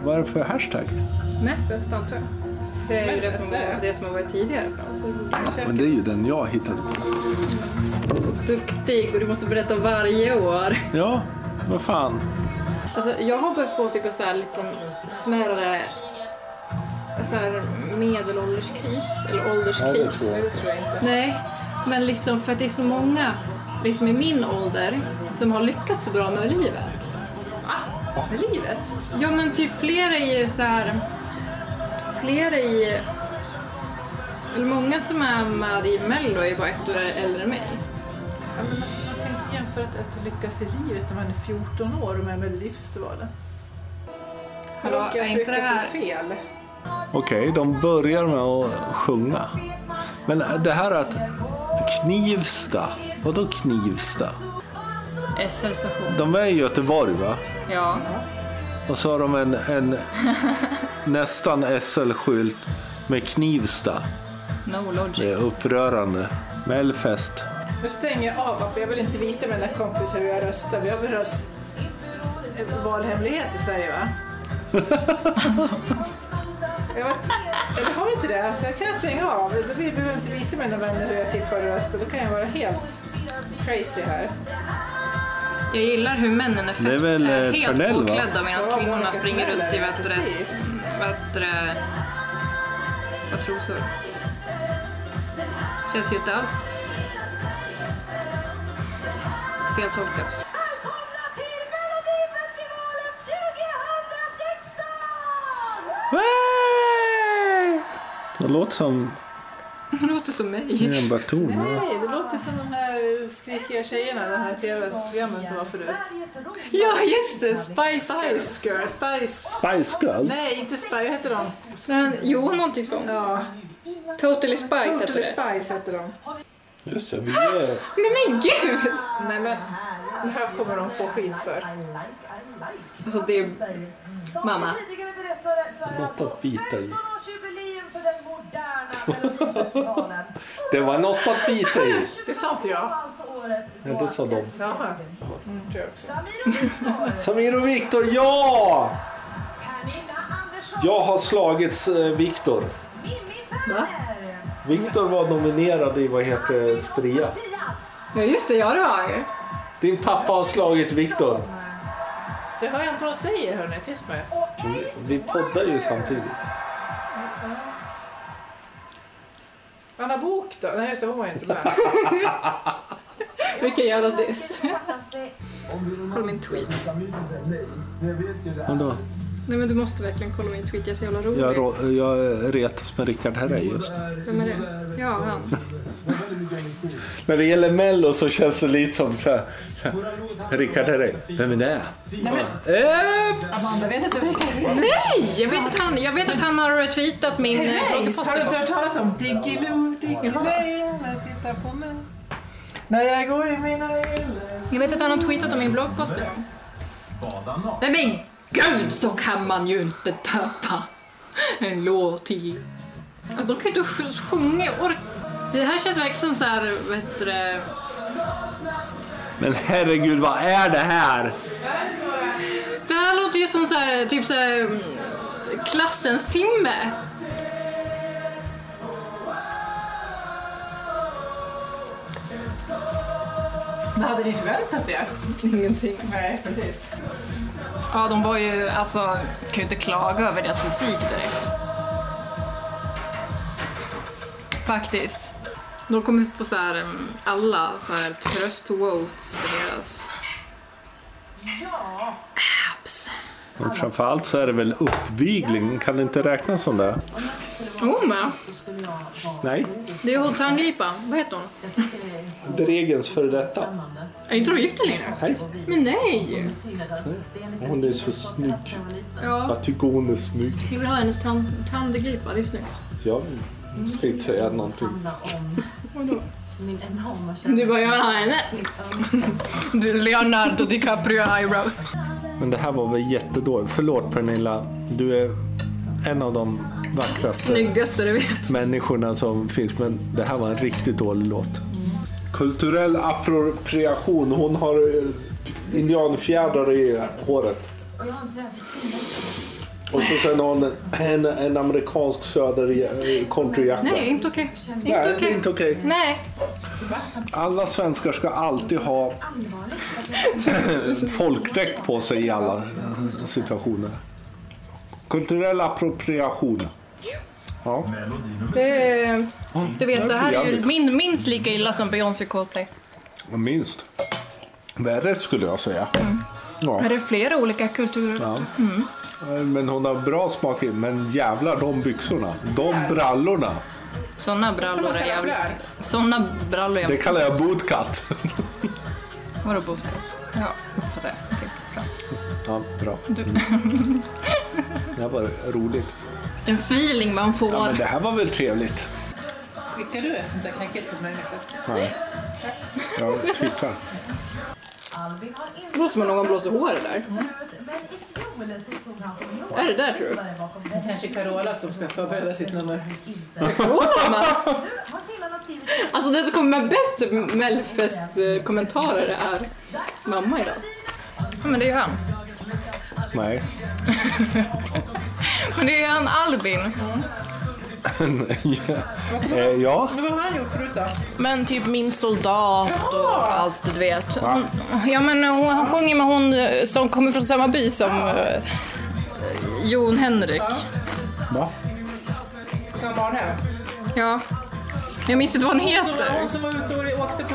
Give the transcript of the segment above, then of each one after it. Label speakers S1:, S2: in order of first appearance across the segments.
S1: vad är det för hashtag?
S2: Manifest antar jag. Det är ju det som, det som har varit tidigare. Så det borde jag
S1: Men
S2: söka.
S1: det är ju den jag hittade på.
S2: Duktig och du måste berätta varje år.
S1: Ja, vad fan.
S2: Alltså, jag har börjat få typ en sån här liten smärre så här medelålderskris, eller ålderskris.
S1: jag.
S2: Nej, men liksom för att det är så många liksom i min ålder som har lyckats så bra med livet. Ah.
S3: Med livet?
S2: Ja men typ flera i så här, flera i, eller många som är med i Mello är bara ett år äldre än mig.
S3: Ja, men alltså, man kan inte jämföra att, att lyckas i livet när man är 14 år och med i Melodifestivalen.
S2: Hallå,
S3: Jag
S2: är inte
S3: tryckte
S2: det här...
S3: på fel.
S1: Okej, de börjar med att sjunga. Men det här att Knivsta, vadå Knivsta?
S2: SL-station.
S1: De är i Göteborg va?
S2: Ja.
S1: Och så har de en, en nästan SL-skylt med Knivsta.
S2: No logic.
S1: Det är upprörande. Melfest.
S3: Nu stänger jag av appen. Jag vill inte visa mina kompisar hur jag röstar. Vi har väl röst... eh, valhemlighet i Sverige va?
S2: Alltså.
S3: jag vet, eller har vi inte det? Så jag kan stänga av. Då vill- behöver jag inte visa mina vänner hur jag tippar och röstar. Då kan jag vara helt crazy här.
S2: Jag gillar hur männen är, fett,
S1: Det är väl,
S2: är
S1: eh,
S2: helt
S1: Törnell, va?
S2: oklädda medan
S3: Ja,
S2: Alltså, kvinnorna
S3: Monica
S2: springer
S3: Törnell,
S2: runt i bättre,
S3: precis.
S2: bättre vad trosor. Känns ju inte alls feltolkat.
S4: Välkomna till Melodifestivalen 2016!
S1: Hey! Det låter som
S2: Det låter som mig.
S1: en baton. ja.
S3: Nej, det låter som de här skrikiga tjejerna, de här tv-programmen som var förut.
S2: Ja just det, Spice Girls.
S3: Spice Girl, Spice...
S1: Spice Girls.
S3: Nej, inte Spice, vad heter de?
S2: Men, jo, någonting sånt.
S3: Ja,
S2: Totally Spice heter
S3: Totally
S2: det.
S3: Spice heter de.
S1: Just det, vi är...
S2: Nej men gud!
S3: Nej men, det här kommer de få skit för.
S2: Alltså det är...
S4: Som
S2: Mamma.
S4: vi tidigare berättade så är det
S1: Något
S4: alltså
S1: att bita i.
S4: 15-årsjubileum för den moderna Melodifestivalen.
S1: Det var något att bita i.
S3: Det sa inte jag.
S4: Alltså året då
S1: Ja, det sa de.
S3: Jaha. Mm, tror jag.
S4: Samir och Viktor,
S1: Samir och Viktor, ja!
S4: Pernilla Andersson,
S1: Jag har slagits eh, Viktor.
S4: Mimmi Werner,
S1: Viktor var nominerad i vad heter det, Spria.
S4: Mattias,
S2: Ja just det, ja det har jag ju.
S1: Din pappa har slagit Viktor.
S3: Det hör jag inte vad de säger hörni, tyst med er.
S4: och Ace
S1: Vi poddar ju samtidigt.
S3: Anna Bok då? Nej just det, hon var ju inte med.
S2: Vilken jävla diss.
S4: Wiklund.
S2: Kolla min tweet.
S1: Vadå?
S2: Nej men du måste verkligen kolla min tweet, jag är så jävla rolig.
S1: Jag, rå- jag retas med Rickard Herrey just
S2: Vem är det? Ja, han.
S1: När det gäller Mello så känns det lite som så här. Rickard Herrey. Vem är det? Eh,
S3: Amanda vet inte vilka det är.
S2: Nej! Jag vet att han, jag vet att han har retweetat min eh,
S3: Grace, Har du inte
S2: bloggpost.
S3: hört talas om Diggiloo, Diggiloo? Titta på mig. När jag går i mina ylle.
S2: Jag vet att han har tweetat om min bloggpost en gång. Nej men gud så kan man ju inte döpa en låt till. Alltså de kan ju inte sj- sjunga. Or- det här känns verkligen som såhär, vad heter det?
S1: Men herregud, vad är det här?
S2: Det här låter ju som så här, typ så här, mm, klassens timme.
S3: Men hade ni förväntat er?
S2: Ingenting.
S3: Nej, precis.
S2: Ja, de var ju, alltså, kan ju inte klaga över deras musik direkt. Faktiskt. De kommer få så här, mm, alla så här tröst-votes på deras
S3: Ja.
S2: apps.
S1: Men framförallt så är det väl uppvigling. Kan det inte räknas som det?
S2: Oh, men.
S1: Nej.
S2: Det är Holtanglipa. Vad heter hon?
S1: Dregens före detta.
S2: Är inte de gifta längre?
S1: Hej.
S2: Men nej!
S1: Hon är så snygg.
S2: Ja,
S1: Jag tycker hon är snygg.
S2: jag vill ha hennes tan- tandglipa. Det är snyggt.
S1: Jag ska inte säga någonting.
S2: Du bara, jag vill ha henne. Du, Leonardo DiCaprio eyebrows.
S1: Men det här var väl jättedåligt. Förlåt Pernilla. Du är en av de vackraste
S2: Snyggaste du vet.
S1: människorna som finns. Men det här var en riktigt dålig låt. Kulturell appropriation. Hon har eh, indianfjädrar i håret. Och så sen har han en, en amerikansk söder eh, countryjacka.
S2: Nej, inte okej.
S1: Nej,
S2: Inte
S1: det är
S2: okej.
S1: inte okej.
S2: Nej.
S1: Alla svenskar ska alltid ha folkdräkt på sig i alla situationer. Kulturell appropriation. Ja.
S2: Det, är- du vet, det här är ju
S1: jävligt.
S2: min, minst lika illa som Beyoncé Coldplay.
S1: Minst. Värre skulle jag säga. Ja.
S2: Men det är flera olika kulturer.
S1: Mm. Ja. Mm. Men hon har bra smak i, men jävlar de byxorna. De brallorna.
S2: Såna brallor är
S3: Kan man kalla
S2: jävligt... Såna brallor är
S1: Det
S2: jävligt...
S1: kallar jag bootcut.
S2: Vadå bootcut? Ja, fattar jag. Okej, bra.
S1: Ja, bra.
S2: Du-
S1: Det här var roligt.
S2: Den feeling man får.
S1: Ja, men det här var väl trevligt?
S3: Skickar du ett sånt där knäcket till mig Niklas?
S1: Nej. Jag twittrar.
S4: Albin har inte
S2: Det låter som att någon blåser håret där.
S4: ut, men i fjol så stod han som
S2: Är det där tror du?
S4: låtskrivare bakom det.
S3: Kanske Carola som ska förbereda sitt nummer.
S2: Tror man?
S4: Nu har killarna skrivit
S2: Alltså den som kommer med bäst Melfest-kommentarer är mamma idag. Ja, men det är ju han.
S1: Nej.
S2: Men det är ju han Albin.
S1: Eh, ja.
S3: Men vad har han gjort förut då?
S2: Men typ min soldat och allt du vet. Hon, ja men eh, hon, han sjunger med hon eh, som kommer från samma by som eh, Jon Henrik.
S1: Va?
S3: Som barnhem?
S2: Ja. Jag minns inte vad hon
S3: Hon som-
S2: heter.
S3: Hon som var ute och åkte på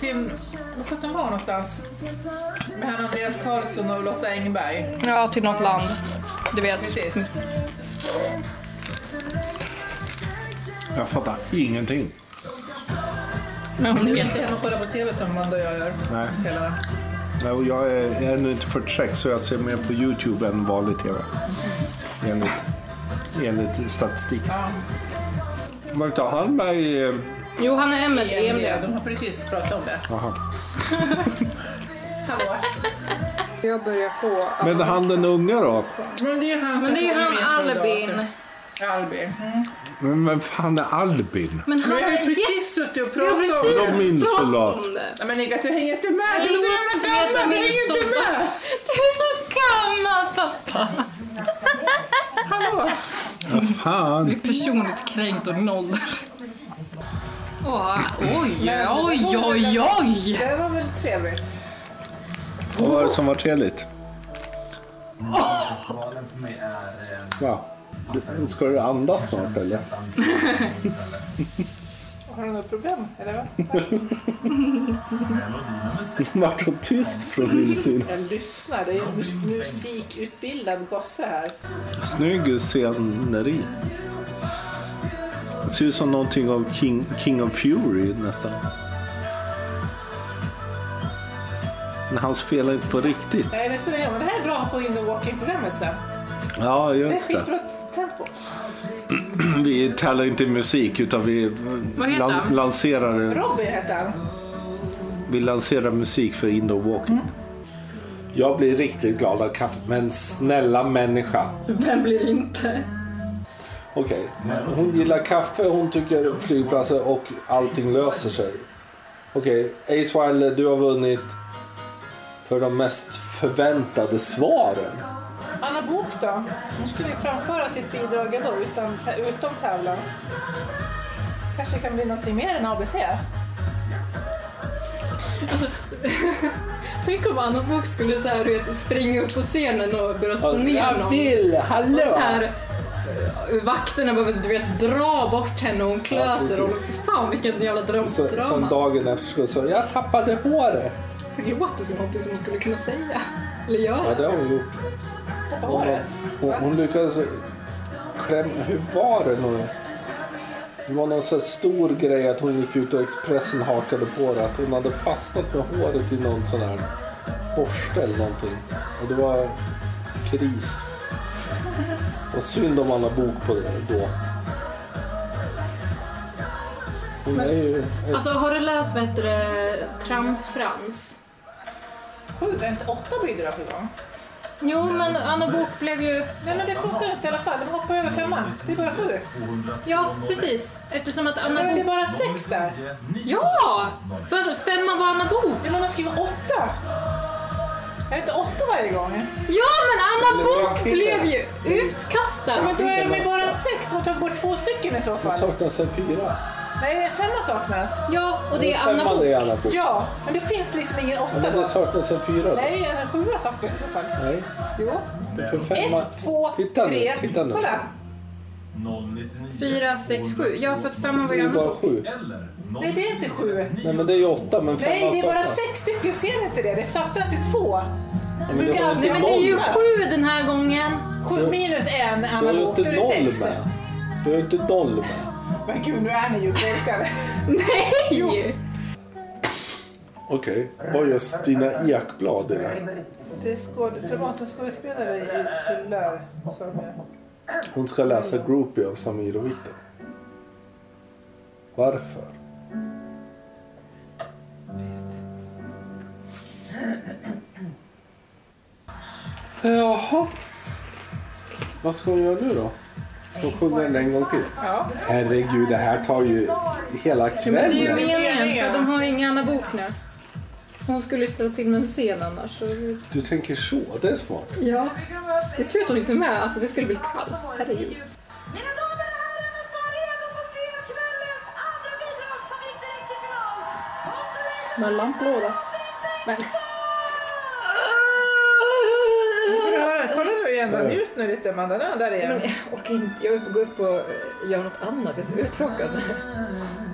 S3: till... Var fasen var hon någonstans? Med han Andreas Karlsson och Lotta Engberg.
S2: Ja, till något land. Du vet.
S3: Precis.
S1: Jag fattar ingenting.
S2: Men hon
S3: Nu är
S2: heter...
S3: inte hemma och kollar på TV som Amanda och jag gör.
S1: Nej.
S3: Hela.
S1: Nej, och Jag är ännu inte 46 så jag ser mer på Youtube än vanlig TV. Enligt, enligt statistik.
S3: Ja.
S1: Var inte han med i... eh,
S2: Johanna Emmett i
S3: Emilia,
S2: Emlia.
S3: de har precis pratat om det.
S1: Aha.
S3: Hallå.
S2: Jag börjar få...
S1: Men han den unga då?
S3: Men det är ju han
S2: Men det är ju
S3: som
S2: han
S3: kommer med
S2: Albin.
S3: soldater. Albin.
S1: Men vem fan är Albin?
S2: Men han
S3: Men jag har
S2: är
S3: ju
S2: jätte...
S3: precis suttit och
S2: Jag
S3: pratat
S2: har
S3: om...
S1: Vadå min
S2: precis pratat
S1: soldat?
S2: om det.
S3: Nej men Niklas, du hänger inte med! Du är så
S2: Låt som
S3: jävla
S2: heter
S3: gammal! Du
S2: min
S3: hänger inte med!
S2: soldat. Du är så gammal pappa.
S3: Hallå!
S1: Fan.
S2: personligt kränkt och noll. Åh, oj, oj, oj, oj!
S3: Det här var väl trevligt?
S1: Vad var det som var trevligt?
S5: Valen för mig är... eh,
S1: Va? Du- Ska du andas snart eller?
S3: Har du något problem? Eller vad?
S5: Melodi nummer sex.
S1: Vart så tyst från din sida.
S3: Jag lyssnar. Det är en mus- musikutbildad gosse här.
S1: Snygg sceneri. Det ser ut som någonting av King, King of Fury nästan. Men han spelar ju på riktigt.
S3: Nej, men spelar ingen roll. Det här är bra på In the Walking-programmet sen.
S1: Ja,
S3: Det är
S1: just det.
S3: skitbra tempo.
S1: Vi tävlar inte i musik utan vi
S2: Vad heter
S1: lan-
S2: han?
S1: lanserar,
S3: Robin hette han.
S1: vi lanserar musik för Indo Walking.
S2: Mm.
S1: Jag blir riktigt glad av kaffe, men snälla människa.
S2: Vem blir inte?
S1: Okej, hon gillar kaffe, hon tycker flygplatser och allting löser sig. Okej, Ace Wilder, du har vunnit för de mest förväntade svaren.
S3: Anna Bok då? Hon skulle ju framföra sitt bidrag ändå, utan, utom tävlan. Kanske kan bli någonting mer än ABC?
S2: Tänk om Anna Bok skulle så här, du vet, springa upp på scenen och börja slå ner någon. Och
S1: vill, hallå!
S2: så här, eh, vakterna behöver du vet, dra bort henne och hon klöser.
S1: Ja,
S2: och
S1: precis.
S2: fan vilket jävla
S1: Så, sen
S2: drömdrama.
S1: dagen efter skulle jag säga, jag tappade håret.
S2: Det låter som någonting som hon skulle kunna säga. Eller
S1: Ja,
S2: göra.
S1: det har hon gjort. Hon, hon, hon lyckades klämma... Hur var det nu? Det var någon så här stor grej att hon gick ut och Expressen hakade på det. Att hon hade fastnat med håret i någon sån här borste eller någonting. Och det var kris. Och synd om Anna Bok på det då. Hon är ju...
S2: Alltså har du läst vad heter det, Tramsfrans?
S3: Sju, det är inte åtta bidrag på gång.
S2: Jo men Anna Bok blev ju
S3: Nej, men det funkar inte i alla fall. De hoppar över femman. Det är bara sju.
S2: Ja, precis. Eftersom att Anna
S3: Men det är
S2: Bok...
S3: bara sex där.
S2: Ja! För femman var Anna Bok.
S3: Ja, men de skriver åtta. Är det inte åtta varje gång?
S2: Ja, men Anna
S1: Men det var
S2: Bok
S1: fel.
S2: blev ju
S3: Ja,
S2: utkastad.
S3: men då är de ju bara sex. De har tagit bort två stycken i så
S1: Det
S3: fall.
S1: saknas en fyra.
S3: Nej, femma saknas.
S2: Ja, och det är Anna
S1: Femman
S2: Bok.
S1: är Anna Bok.
S3: Ja, men det finns liksom ingen åtta
S1: Men det
S3: då.
S1: saknas en fyra. då.
S3: Nej, en sjua saknas i så fall.
S1: Nej.
S3: Jo.
S1: För femma.
S3: Ett, två,
S1: Titta nu,
S3: tre.
S1: titta nu.
S3: Kolla.
S6: 099.
S2: 4, 6, 7. Ja, för att femman
S1: Det
S2: var ju
S1: är
S2: Anna
S1: bara
S2: Bok.
S1: sju.
S6: Eller
S3: Nej, det är inte sju.
S1: Nej men det är ju åtta men femman
S3: Nej, det är bara
S1: saknas.
S3: sex stycken. Ser ni inte det? Det saknas ju två.
S1: men det
S3: brukar
S1: var ju
S3: alltid-
S2: Nej, men det är ju
S3: noll.
S2: sju den här gången.
S3: Sju minus en
S1: Du har ju
S3: analog, då
S1: inte
S3: är det
S1: noll
S3: sex.
S1: med. Du har ju inte noll med.
S3: Men gud, nu är ni ju korkade.
S2: Nej!
S1: Okej, vad gör Stina Ekblad i det här?
S3: Det är skåd- Dramatens-skådespelare i Kullar som
S1: Hon ska läsa Groupie av Samir och Viktor. Varför? Jaha. Vad ska hon göra nu då? Ska hon sjunga den en gång till?
S3: Ja.
S1: Herregud, det här tar ju hela
S2: Det är ju
S1: kvällen.
S2: meningen, för att de har ju ingen Anna Bok nu. Hon skulle ställa till med en scen annars. så-
S1: Du tänker så, det är smart.
S2: Ja. Det är tur att hon inte är med, alltså det skulle bli kaos. Herregud.
S4: Mina damer och herrar, så är redo på kvällens andra bidrag som gick direkt till final. Costa Rica
S2: Med en lamplåda. Men.
S3: Kolla nu igen, då. njut nu lite Amanda. Där, där är
S2: Men
S3: jag.
S2: jag orkar inte, jag vill gå upp och göra något annat, jag är så uttråkad.